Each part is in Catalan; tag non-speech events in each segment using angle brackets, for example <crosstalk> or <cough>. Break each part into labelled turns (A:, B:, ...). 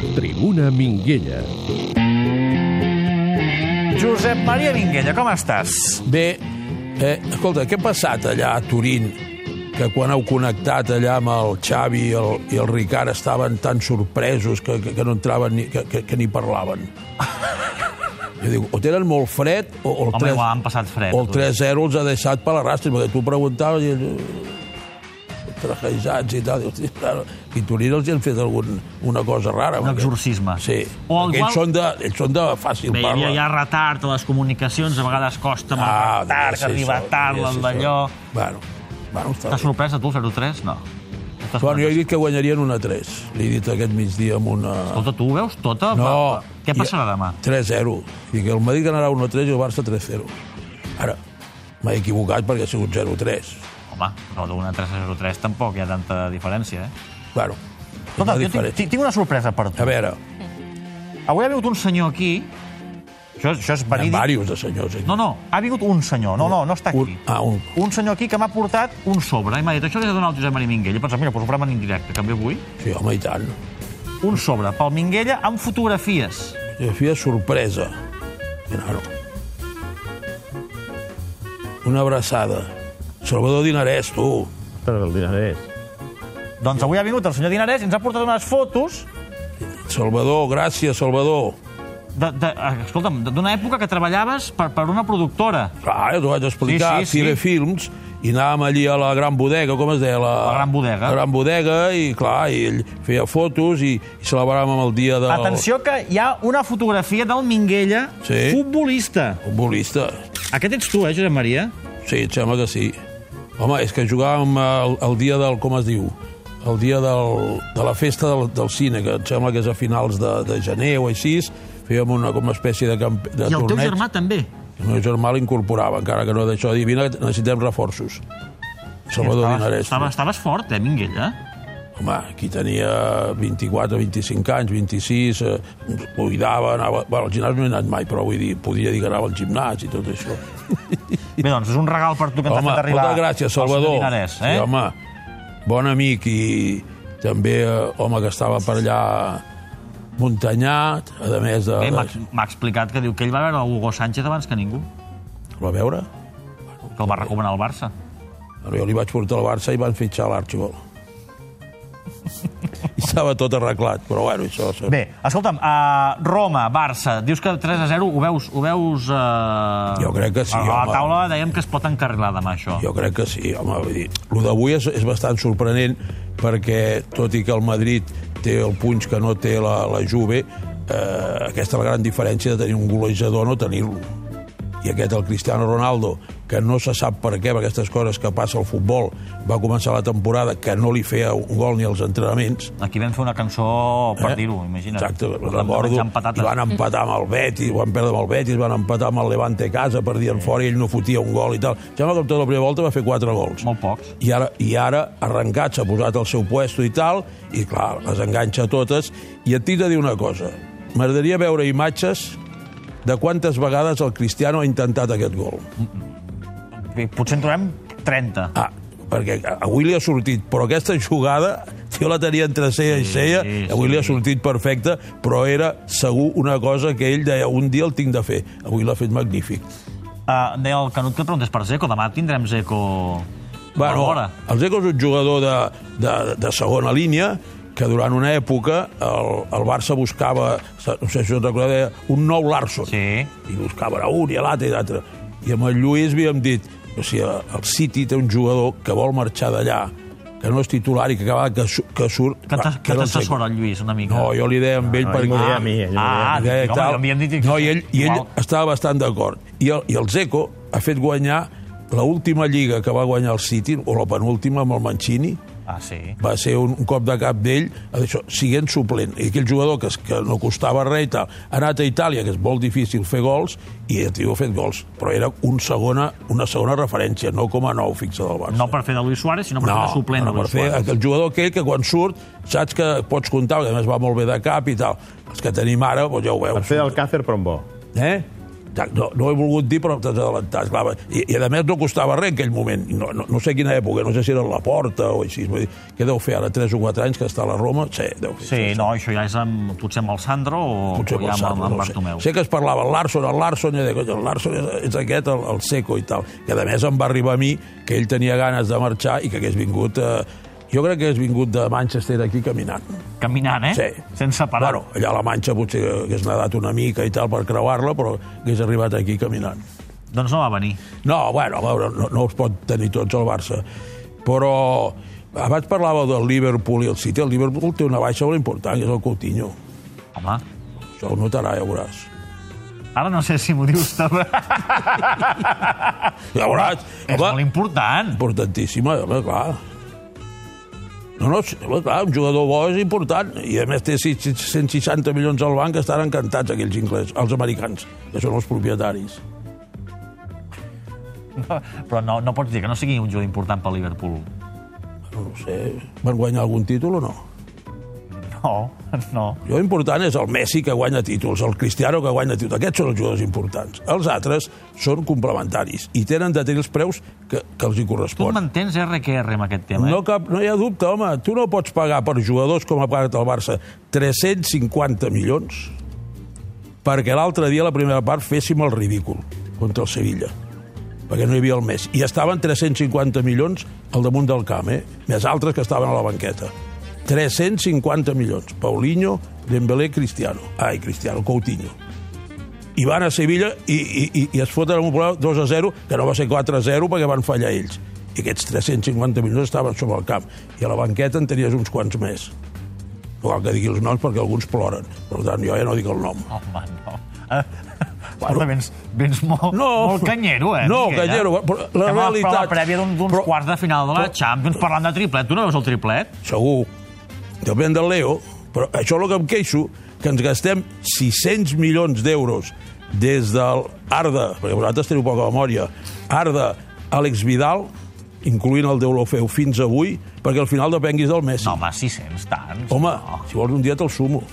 A: Carolina Minguella.
B: Josep Maria Minguella, com estàs?
C: Bé, eh, escolta, què ha passat allà a Turín? Que quan heu connectat allà amb el Xavi i el, i el Ricard estaven tan sorpresos que, que, que no entraven ni, que, que, que ni parlaven. Jo dic, o tenen molt fred o, o el,
B: Home,
C: tres-
B: igual eh, han passat fred.
C: o el 3-0 els ha deixat per la rastra, perquè tu preguntaves i ells, trajejats i tal. Dius, claro, I Turín els hi han fet algun, una cosa rara.
B: Un
C: perquè-
B: exorcisme.
C: Sí.
B: O
C: Perquè
B: igual-
C: ells, són de, ells són de fàcil
B: Bé, hi havia
C: parla.
B: ja retard a les comunicacions, a vegades costa amb
C: Ah,
B: el retard,
C: sí,
B: que arriba
C: això,
B: tard,
C: sí,
B: el
C: sí,
B: d'allò...
C: això. Bueno, bueno, està
B: T'has
C: bé.
B: sorprès a tu, el 0-3? No. T'has
C: Bueno, jo
B: sorprès.
C: he dit que guanyarien una 3. Li he dit aquest migdia amb una...
B: Escolta, tu ho veus tota?
C: No.
B: Què passarà demà?
C: 3-0. I que el Madrid ganarà 1-3 i el Barça 3-0. Ara, m'he equivocat perquè ha sigut 0-3.
B: Home, però d'una 3-0-3 tampoc hi ha tanta diferència, eh?
C: Bueno, és
B: Escolta, jo
C: diferent.
B: tinc, tinc- tinc una sorpresa per tu.
C: A veure,
B: Avui ha vingut un senyor aquí... Això, això és
C: hi ha
B: verídic.
C: diversos de senyors aquí.
B: No, no, ha vingut un senyor. No, no, no està aquí.
C: Un, ah, un...
B: un senyor aquí que m'ha portat un sobre i m'ha dit això l'he de donar al Josep Maria Minguella. Pensa, mira, doncs ho farem en indirecte, també vull.
C: Sí, home, i tant.
B: Un sobre pel Minguella amb fotografies.
C: Fotografia sorpresa. Claro. Una abraçada. Salvador Dinarès, tu.
D: Però el dinarès.
E: eh?
B: Doncs avui ha vingut el senyor Dinarès i ens ha portat unes fotos
C: Salvador, gràcies, Salvador.
B: de, de, eh, escolta'm, de- d'una època que treballaves per, per una productora.
C: Clar, jo t'ho vaig explicar,
B: Sí,
C: sí,
B: sí,
C: sí,
B: sí.
C: Films, i anàvem allí a la gran bodega, com es deia? La,
B: La Gran Bodega.
C: La gran bodega, i clar, i ell feia fotos i, i celebràvem amb el dia del
B: Atenció que hi ha una fotografia del Minguella,
C: Sí.
B: futbolista.
C: futbolista.
B: Aquest ets tu, eh, Josep Maria?
C: Sí, et sembla que sí. Home, és que jugàvem el, el dia del, com es diu, el dia del, de la festa del, del cine, que em sembla que és a finals de, de gener o així, fèiem una, com una espècie de, camp, de
B: I el teu
C: torneig.
B: germà també.
C: El meu germà l'incorporava, encara que no d'això. Divina, necessitem reforços. Salvador
B: Estaves,
C: Dinarès.
B: estaves, estaves fort, eh, Minguella?
C: Home, aquí tenia 24, 25 anys, 26, eh, cuidava, anava... Bueno, al gimnàs no he anat mai, però vull dir, podia dir que anava al gimnàs i tot això.
B: Bé, doncs, és un regal per tu que ens has
C: home,
B: fet arribar.
C: moltes gràcies, Salvador.
B: El senyor Dinarès, eh?
C: sí, home, bon amic i també eh, home que estava per allà Montanyà, a més de...
B: Bé, Eh, m'ha
C: de...
B: m'ha explicat que diu que ell va veure Hugo Sánchez abans que ningú,
C: Va veure?
B: que el va recomanar al Barça.
C: Ara Jo li vaig portar al Barça i van fitxar l'Archibald. I estava tot arreglat, però bueno, això... això...
B: Bé, escolta'm, a Roma, Barça, dius que 3 a 0, ho veus... Ho veus eh...
C: Jo crec que sí,
B: A la
C: home.
B: taula dèiem que es pot encarrilar demà, això.
C: Jo crec que sí, home, vull dir, el d'avui és, és bastant sorprenent perquè, tot i que el Madrid té el punx que no té la, la Juve, eh, aquesta és la gran diferència de tenir un golejador o no tenir-lo. I aquest, el Cristiano Ronaldo, que no se sap per què, per aquestes coses que passa al futbol, va començar la temporada que no li feia un gol ni als entrenaments,
B: Aquí vam fer una cançó per dir-ho, imagina't.
C: Eh? Exacte,
B: Vam
C: recordo,
B: menjant patates.
C: i van empatar amb el Betis, van perdre amb el Betis, van empatar amb el Levante a casa, perdien fora i ell no fotia un gol i tal. Sembla que tota la primera volta va fer quatre gols.
B: Molt pocs.
C: I ara, i ara arrencat, s'ha posat al seu puesto i tal, i clar, les enganxa totes. I et tinc de dir una cosa. M'agradaria veure imatges de quantes vegades el Cristiano ha intentat aquest gol.
B: Potser en trobem 30.
C: Ah, perquè avui li ha sortit, però aquesta jugada jo la tenia entre ceia sí, i ceia,
B: sí,
C: avui
B: sí.
C: li ha sortit perfecta, però era segur una cosa que ell deia, un dia el tinc de fer. Avui l'ha fet magnífic.
B: Ah, deia el Canut que preguntés per Zeco, demà tindrem Zeco... a la vora.
C: el Zeco és un jugador de, de, de segona línia que durant una època el, el Barça buscava, no sé si us recordeu, un nou Larson.
B: Sí.
C: i buscaven a un i a l'altre i a l'altre. I amb el Lluís havíem dit, o sigui, el City té un jugador que vol marxar d'allà, que no és titular i que cada vegada que, su- que surt...
B: Que
C: va,
B: t'as- que
C: era el
B: t'assessora el Lluís una mica.
C: No, jo li deia amb ell
D: no, ell
C: perquè...
D: m'ho deia a mi, ell m'ho
B: deia a mi.
C: Li deia
B: Ah, Home,
C: tal.
B: jo m'havien dit que-
C: No, i ell, i ell
B: Igual.
C: estava bastant d'acord. I, el, I el Zeco ha fet guanyar l'última lliga que va guanyar el City, o la penúltima amb el Mancini,
B: Ah, sí.
C: va ser un, un cop de cap d'ell, això, siguent suplent. I aquell jugador que, es- que no costava res i tal, ha anat a Itàlia, que és molt difícil fer gols, i el tio ha fet gols. Però era un segona, una segona referència, no com a nou fixa del Barça.
B: No per fer de Luis Suárez, sinó per fer de suplent
C: no,
B: de
C: per
B: Luis
C: fer
B: Suárez.
C: el jugador aquell que quan surt saps que pots comptar, perquè a més va molt bé de cap i tal. Els que tenim ara, doncs ja ho
D: Per
C: veus.
D: fer del Càcer, però amb bo.
C: Eh? Tac, No, no ho he volgut dir, però t'has adelantat. Esclar, va, i, I, a més, no costava res en aquell moment. No, no, no sé quina època, no sé si era la porta o així. Vull dir, què deu fer ara, 3 o 4 anys que està a la Roma? Sí, deu fer.
B: Sí, no, això ja és amb, potser amb el Sandro o,
C: Potser
B: o ja
C: pel
B: amb,
C: Sarro,
B: amb, amb
C: no ho sé.
B: Bartomeu.
C: Sé que es parlava el Larson, el Larson, i jo deia, "Cony, el Larson és, és aquest, el, el Seco i tal. Que a més em va arribar a mi que ell tenia ganes de marxar i que hagués vingut... Eh, jo crec que hagués vingut de Manchester aquí caminant.
B: Caminant, eh?
C: Sí.
B: Sense parar.
C: Bueno, allà a la Manxa potser hagués nedat una mica i tal per creuar-la, però hagués arribat aquí caminant.
B: Doncs no va venir.
C: No, bueno, a veure, no, no els pot tenir tots el Barça. Però abans parlava del Liverpool i el City. El Liverpool té una baixa molt important, que és el Coutinho.
B: Home,
C: Això ho notarà, ja ho veuràs.
B: ara no sé si m'ho dius <laughs> tu.
C: Ja ho veuràs.
B: és molt important.
C: importantíssima, home, clar. No, no, sí, home, clar, un jugador bo és important. I a més té 160 milions al banc que estan encantats aquells inglesos, els americans, que són els propietaris.
B: Però no, no pots dir que no sigui un jugador important pel Liverpool.
C: No, no ho sé, van guanyar algun títol o no?
B: No, no.
C: Jo important és el Messi que guanya títols, el Cristiano que guanya títols. Aquests són els jugadors importants. Els altres són complementaris i tenen de tenir els preus que, que els hi
B: Tu
C: correspon.
B: m'entens RQR amb aquest tema,
C: No,
B: eh?
C: cap, no hi ha dubte, home. Tu no pots pagar per jugadors com ha pagat el Barça 350 milions perquè l'altre dia, a la primera part, féssim el ridícul contra el Sevilla perquè no hi havia el Messi. I estaven 350 milions al damunt del camp, eh? Més altres que estaven a la banqueta. 350 milions. Paulinho, Dembélé, Cristiano. Ai, Cristiano, Coutinho. I van a Sevilla i, i, i, i es foten amb un problema 2 a 0, que no va ser 4 a 0 perquè van fallar ells. I aquests 350 milions estaven sobre el camp. I a la banqueta en tenies uns quants més. No cal que digui els noms perquè alguns ploren. Per tant, jo ja no dic el nom.
B: Home, no. <laughs> Eh, Escolta, vens, vens molt, molt canyero, eh?
C: No,
B: Miquel, eh?
C: canyero. Però la
B: Estem a
C: realitat...
B: prova prèvia d'un- d'uns
C: Però-
B: quarts de final de la Champions parlant de triplet. Tu no veus el triplet?
C: segur, depèn del Leo, però això és el que em queixo, que ens gastem 600 milions d'euros des del Arda, perquè vosaltres teniu poca memòria, Arda, Àlex Vidal, incluint el Deulofeu fins avui, perquè al final depenguis del Messi.
B: No, home, 600, tants.
C: Home,
B: no.
C: si vols un dia te'l sumo.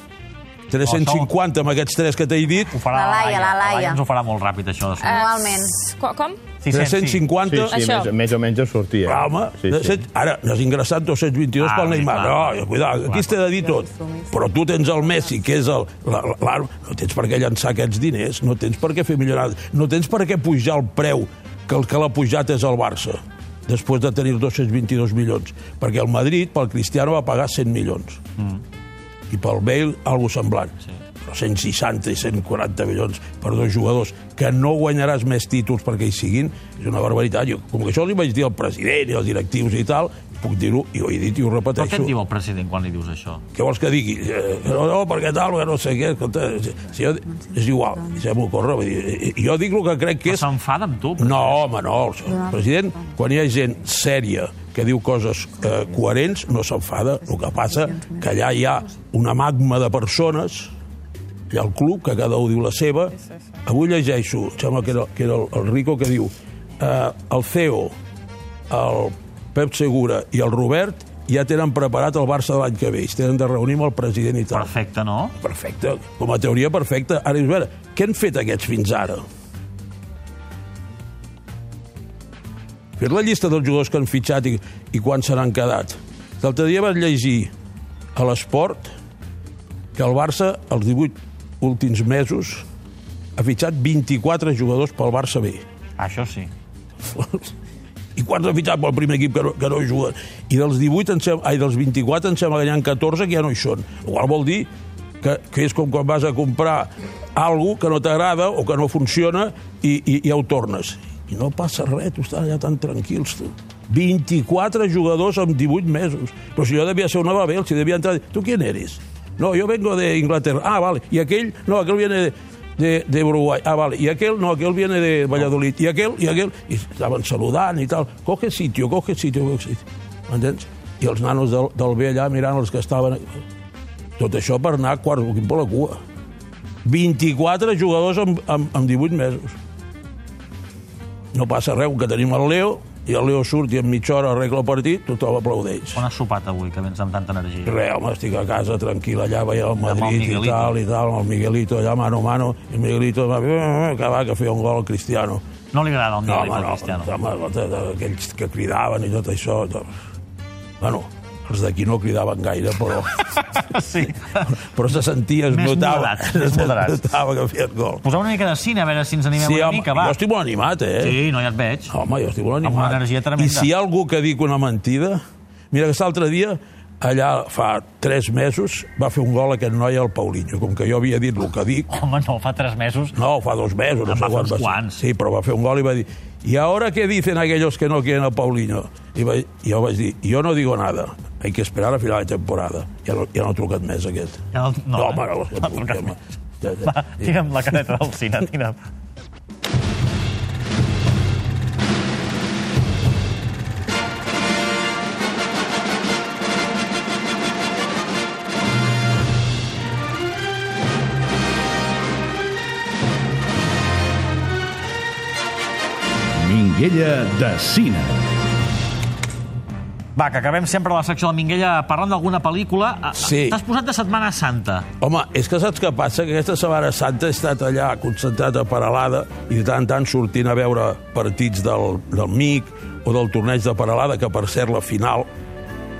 C: 350 amb aquests tres que t'he dit,
B: Ho farà
A: La Laia, Eh. la Laia.
B: ens ho farà molt ràpid, això. De sumar.
A: Anualment.
D: Co- Com?
C: 350...
E: Sí, sí,
D: Això.
E: més, més o menys em sortia.
C: Clar, home,
E: sí, sí.
C: ara n'has ingressat 222
B: Ah,
C: pel Neymar.
B: clar,
C: No,
B: clar.
C: ja, cuidado, aquí
B: Clar,
C: es té de dir tot. Però tu tens el Messi, que és el- la- la- l'arma. No tens per què llançar aquests diners, no tens per què fer millonades, no tens per què pujar el preu, que el que l'ha pujat és el Barça, després de tenir 222 milions. Perquè el Madrid, pel Cristiano, va pagar 100 milions. I pel Bale, algo semblant. Però 160 i 140 milions per dos jugadors que no guanyaràs més títols perquè hi siguin, és una barbaritat. Jo, com que això li vaig dir al president i als directius i tal, puc dir-ho, i ho he dit i ho
B: Però
C: repeteixo.
B: què et diu el president quan li dius això?
C: Què vols que digui? Eh, No, no, perquè tal, perquè no sé què. Escolta, si jo, és igual, se m'ocorre. Vull dir, eh, jo dic el que crec que
B: Que
C: és...
B: s'enfada amb tu?
C: No, home, no. El president, quan hi ha gent sèria que diu coses eh, coherents, no s'enfada. El que passa que allà hi ha una magma de persones hi ha el club, que cada un diu la seva. Avui llegeixo, em sembla que era, que era el, el Rico, que diu eh, el CEO, el Pep Segura i el Robert ja tenen preparat el Barça de l'any que ve. Ells tenen de reunir amb el president i tal.
B: Perfecte, no?
C: Perfecte, com a teoria perfecta. Ara dius, a veure, què han fet aquests fins ara? Fer la llista dels jugadors que han fitxat i, i quan se n'han quedat. L'altre dia vaig llegir a l'Esport que el Barça, els 18 últims mesos, ha fitxat 24 jugadors pel Barça B.
B: Això sí.
C: I quants ha fitxat pel primer equip que no, que no hi juguen? I dels 18, en sem... ai, dels 24 em sembla que n'hi ha 14 que ja no hi són. Igual vol dir que, que és com quan vas a comprar algo que no t'agrada o que no funciona i, i, i ja ho tornes. I no passa res, tu estàs allà tan tranquils, tu. 24 jugadors amb 18 mesos. Però si jo devia ser una babel, si devia entrar... Tu qui eres? No, jo vengo de Inglaterra. Ah, vale. I aquell? No, aquell viene de, de, de Uruguay. Ah, vale. I aquell? No, aquell viene de Valladolid. I aquell? I aquell? I estaven saludant i tal. Coge sitio, coge sitio, coge sitio. M'entens? I els nanos del, del B allà mirant els que estaven... Tot això per anar a quarts d'equip per la cua. 24 jugadors amb, amb, amb 18 mesos. No passa res, que tenim el Leo, i el Leo surt i en mitja hora arregla el partit, tothom aplaudeix.
B: On has sopat avui, que vens amb tanta energia?
C: Res, home, estic a casa tranquil, allà veia el
B: el
C: Madrid i
B: Miguelito.
C: tal, i tal, amb el Miguelito allà mano a mano, i el Miguelito va, "Eh, que va, que feia un gol al Cristiano.
B: No li agrada el
C: No, home,
B: Miguelito al
C: no,
B: Cristiano.
C: home, escolta, de- aquells que cridaven i tot això... Doncs... Bueno, els d'aquí no cridaven gaire,
B: <laughs>
C: però,
B: sí.
C: però se sentia, es
B: Més
C: notava,
B: moderats, més moderats.
C: <laughs> es notava que feien gol.
B: Posar una mica de cine, a veure si ens animem
C: Sí,
B: una
C: home,
B: mica, va.
C: jo estic molt animat, eh?
B: Sí, no, ja et veig.
C: Home, jo estic molt animat.
B: Amb una energia tremenda.
C: I si hi ha algú que dic una mentida... Mira, que l'altre dia, allà fa tres mesos, va fer un gol aquest noi al Paulinho. Com que jo havia dit el que dic,
B: Home, no, fa tres mesos.
C: no, fa dos mesos, no
B: En
C: sé
B: va
C: quan
B: fer Ah, uns
C: va ser.
B: quants.
C: Sí, però va fer un gol i va dir... I ahora qué dicen aquellos que no quieren a Paulinho? I va, jo vaig dir, jo no digo nada. Hay que esperar a final de temporada. Ja no, ja no ha trucat més, aquest.
B: Ja no- no, eh?
C: home, no,
B: <laughs> No ha
C: no,
B: trucat
C: no,
B: més.
C: ja, ja.
B: Va, tira'm la careta del cine, tira'm.
A: Minguella de Cine.
B: Va, que acabem sempre la secció de Minguella parlant d'alguna pel·lícula. Ah,
C: Sí.
B: T'has posat de Setmana Santa.
C: Home, és que saps què passa? Que aquesta Setmana Santa he estat allà concentrat a Paralada i de tant en tant sortint a veure partits del, del MIC o del torneig de Paralada, que per cert la final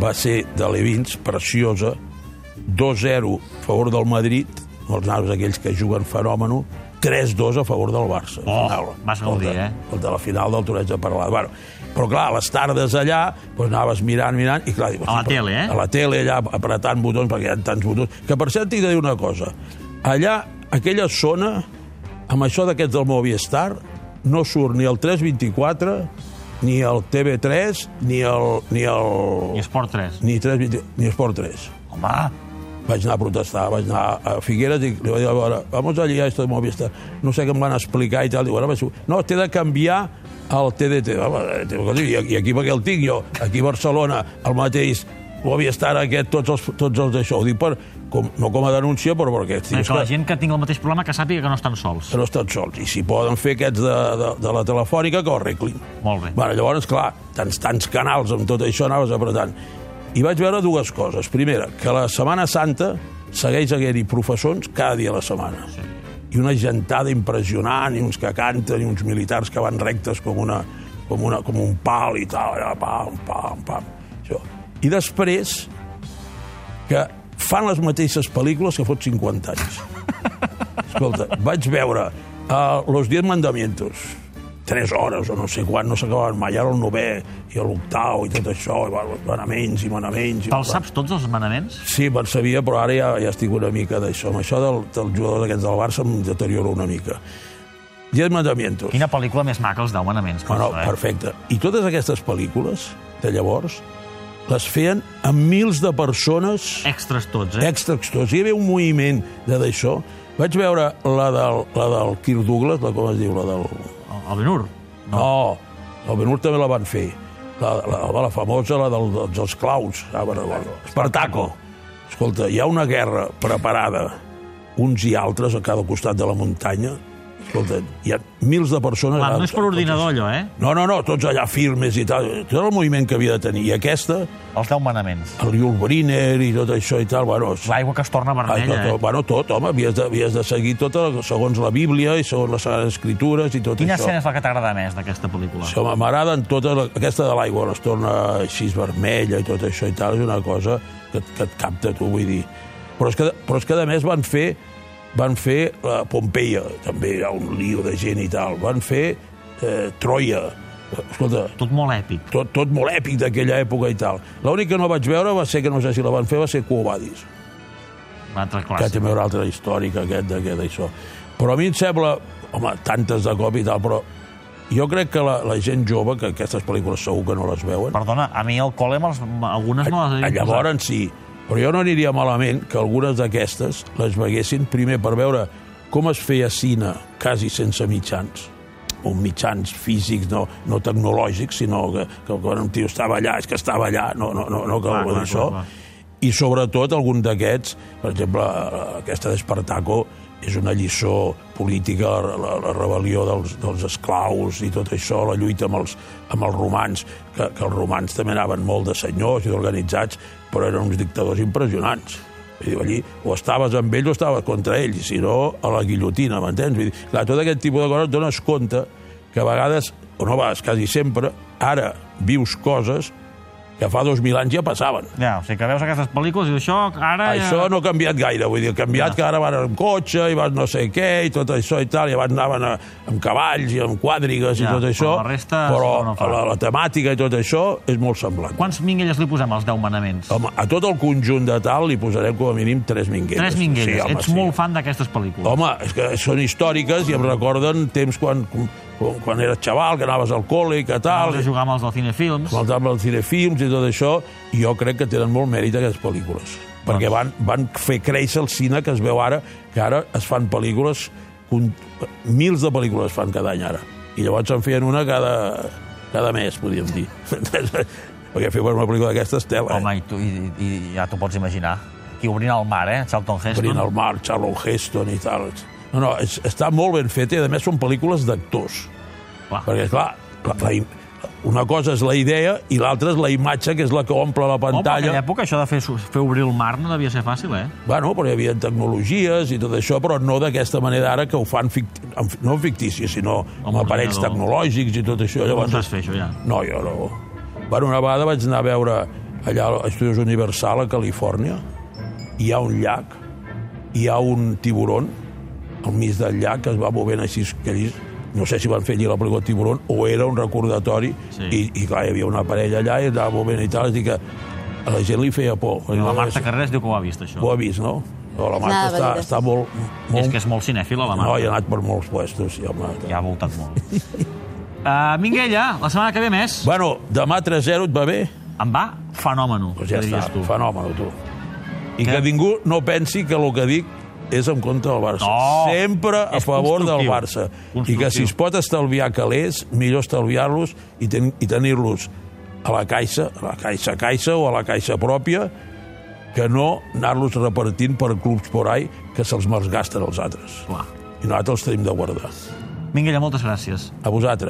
C: va ser de Levins, preciosa, 2-0 a favor del Madrid, amb els nanos aquells que juguen fenòmeno, 3-2 a favor del Barça.
B: Oh,
C: Final.
B: vas gaudir,
C: El de-
B: eh?
C: El de la final del torneig de Paralada. Bueno, però clar, a les tardes allà doncs anaves mirant, mirant, i clar, dius,
B: A la
C: però-
B: tele, eh?
C: A la tele, allà, apretant botons, perquè hi ha tants botons. Que per cert, t'he de dir una cosa. Allà, aquella zona, amb això d'aquest del Movistar, no surt ni el 324, ni el TV3, ni el... Ni
B: I
C: el...
B: Esport 3.
C: Ni, 3, ni Esport 3.
B: Home,
C: Vaig anar a protestar, vaig anar a Figueres i li vaig dir, a veure, vamos allí a esto de Movistar. No sé què em van explicar i tal. Diu, bueno, pues, no, té de canviar el TDT. Home, eh, escolti, I aquí- i aquí perquè el tinc jo, aquí a Barcelona, el mateix Movistar aquest, tots els, tots els d'això. Ho dic per, com, no com a denúncia, però perquè...
B: sí,
C: Estic,
B: que la gent que tingui el mateix problema que sàpiga que no estan sols.
C: que no estan sols. I si poden fer aquests de, de, de la telefònica, que ho arreglin.
B: Molt bé.
C: Bueno, llavors, clar, tants, tants canals amb tot això anaves apretant. I vaig veure dues coses. Primera, que la Setmana Santa segueix haguent-hi professors cada dia a la setmana. Sí. I una gentada impressionant, i uns que canten, i uns militars que van rectes com, una, com, una, com un pal i tal. Allà, pam, pam, pam. Això. I després, que fan les mateixes pel·lícules que fot 50 anys. Escolta, vaig veure uh, Los Diez Mandamientos, tres hores o no sé quan, no s'acabaven mai, ara el novè i l'octau i tot això, i va, manaments i manaments... i
B: Te'ls saps tots, els manaments?
C: Sí, me'n sabia, però ara ja, ja estic una mica d'això. Amb això del, dels jugadors aquests del Barça em deterioro una mica. Diez Mandamientos.
B: Quina pel·lícula més maca, els 10 manaments.
C: No, no,
B: penso, eh?
C: perfecte. I totes aquestes pel·lícules de llavors les feien amb mils de persones
B: Extras tots, eh?
C: text textuós. Hi havia un moviment de d'això. Vaig veure la del, la del Kirk Douglas, la com es diu, la del...
B: El- El Benur.
C: No, el Benur també la van fer. La, la, la, la famosa, la del, dels esclaus. Ah, bueno, bueno. Espartaco. Escolta, hi ha una guerra preparada, uns i altres, a cada costat de la muntanya. Escolta, hi ha mils de persones...
B: Clar, no és per ordinador, allò, eh?
C: No, no, no, tots allà firmes i tal. Tot el moviment que havia de tenir. I aquesta,
B: Els 10 manaments.
C: el Yul Brynner i tot això i tal, bueno...
B: L'aigua que es torna
C: Ai,
B: vermella,
C: tot, tot,
B: eh?
C: Ah, bueno, tot, home, havies de, havies de seguir tot el, segons la Bíblia i segons les Sagrades Escritures i tot
B: Quina
C: això.
B: escena és la que t'agrada més d'aquesta pel·lícula?
C: Això m'agraden totes... tota la- Aquesta de l'aigua, es torna així vermella i tot això i tal, és una cosa que, et- que et capta tu, vull dir. Però és que, però és que a més van fer van fer la Pompeia, també hi ha un lío de gent i tal. Van fer eh, Troia. Escolta,
B: Tot molt èpic.
C: tot, tot molt èpic d'aquella època i tal. L'únic que no vaig veure va ser, que no sé si la van fer, va ser Quo Vadis.
B: Un altre
C: que
B: clàssic.
C: també era altre històric aquest, aquest, això. Però a mi em sembla, home, tantes de cop i tal, però jo crec que la, la gent jove, que aquestes pel·lícules segur que no les veuen,
B: Perdona, a mi el Cole me'ls- algunes no les
C: a,
B: havia
C: llavors sí. Però jo no aniria malament que algunes d'aquestes les veguessin primer per veure com es feia cine quasi sense mitjans un mitjans físics, no, no tecnològics, sinó que, que quan un tio estava allà, és que estava allà, no, no, no, no que
B: Clar,
C: ho
B: clar,
C: això.
B: clar, clar.
C: I sobretot algun d'aquests, per exemple, aquesta d'Espartaco, és una lliçó política, la, la, la rebel·lió dels, dels esclaus i tot això, la lluita amb els, amb els romans, que, que els romans també anaven molt de senyors i d'organitzats, però eren uns dictadors impressionants. Vull dir, allí o estaves amb ell o estaves contra ell, i si no, a la guillotina, m'entens? Vull dir, clar, tot aquest tipus de coses et dones compte que a vegades, o no a vegades, quasi sempre, ara vius coses que fa dos mil anys ja passaven.
B: Ja, o sigui que veus aquestes pel·lícules i dius, això ara... Ah, ja-
C: Això no ha canviat gaire, vull dir, ha canviat que ara van amb cotxe i van no sé què i tot això i tal, i abans anaven a, amb cavalls i amb quadrigues
B: Ja,
C: i tot
B: però
C: això,
B: la resta
C: però
B: no fa.
C: la, la temàtica i tot això és molt semblant.
B: Quants minguelles li posem als 10 manaments?
C: Home, a tot el conjunt de tal li posarem com a mínim tres minguelles.
B: Tres minguelles.
C: home,
B: Ets molt fan d'aquestes pel·lícules.
C: Home, és que són històriques i em recorden temps quan, quan, quan eres xaval, que anaves al col·le i que tal,
B: Vas a jugar amb els del cinefilms.
C: amb el table del cinefilms i tot això, i jo crec que tenen molt mèrit aquestes pel·lícules. Perquè van, van fer créixer el cine que es veu ara, que ara es fan pel·lícules, con- mils de pel·lícules es fan cada any ara. I llavors en feien una cada, cada mes, podríem dir. <laughs> perquè fer una pel·lícula d'aquestes eh, tela.
A: Home, i, tu, i, i ja t'ho pots imaginar. Aquí obrint el mar, eh? Charlton Heston.
C: Brin al mar, Charlton Heston i tal. No, no, és, està molt ben fet i a més són pel·lícules d'actors.
B: Clar.
C: Perquè, clar, la, la, im- una cosa és la idea i l'altra és la imatge, que és la que omple la
B: Home, en
C: pantalla.
B: aquella època això de fer, fer obrir el mar no devia ser fàcil, eh?
C: Bueno, però hi havia tecnologies i tot això, però no d'aquesta manera ara que ho fan ficti amb- no fictícies, sinó amb
B: Amb
C: aparells
B: ordinador.
C: tecnològics i tot això.
B: Com
C: Llavors,
B: saps fer això, ja?
C: no, jo no. Bueno, una vegada vaig anar a veure allà a Estudios Universal a Califòrnia, hi ha un llac, hi ha un tiburon al mig del llac que es va movent així, que allí, no sé si van fer allí la pel·lícula Tiburon o era un recordatori
B: Sí.
C: i, i clar, hi havia una parella allà i anava movent i tal, és a dir que a la gent li feia por.
B: I la Marta Carrers diu que ho ha vist, això.
C: Ho ha vist, no? no la Marta
D: Anava
C: està,
D: a dir.
C: està molt... molt
B: És que és molt cinèfila, la
C: no,
B: Marta.
C: hi ha anat per molts puestos, ja, Marta.
B: Ja ha voltat molt. <laughs> Uh, Minguella, la setmana que ve més,
C: Bueno, demà 3-0 et va bé?
B: em va fenòmeno,
C: Doncs ja
B: que
C: està,
B: diries tu. Eh?
C: fenomen, tu. I
B: Què?
C: que ningú no pensi que el que dic és en contra del Barça.
B: No,
C: Sempre a
B: és
C: favor del
B: constructiu.
C: Barça. I que
B: Constructiu.
C: si es pot estalviar calés, millor estalviar-los i, ten i tenir-los a la caixa, a la caixa caixa o a la caixa pròpia, que no anar-los repartint per clubs por ahí que se'ls malgasten els altres.
B: Clar.
C: I nosaltres els tenim de guardar.
B: Minguella, moltes gràcies.
C: A vosaltres.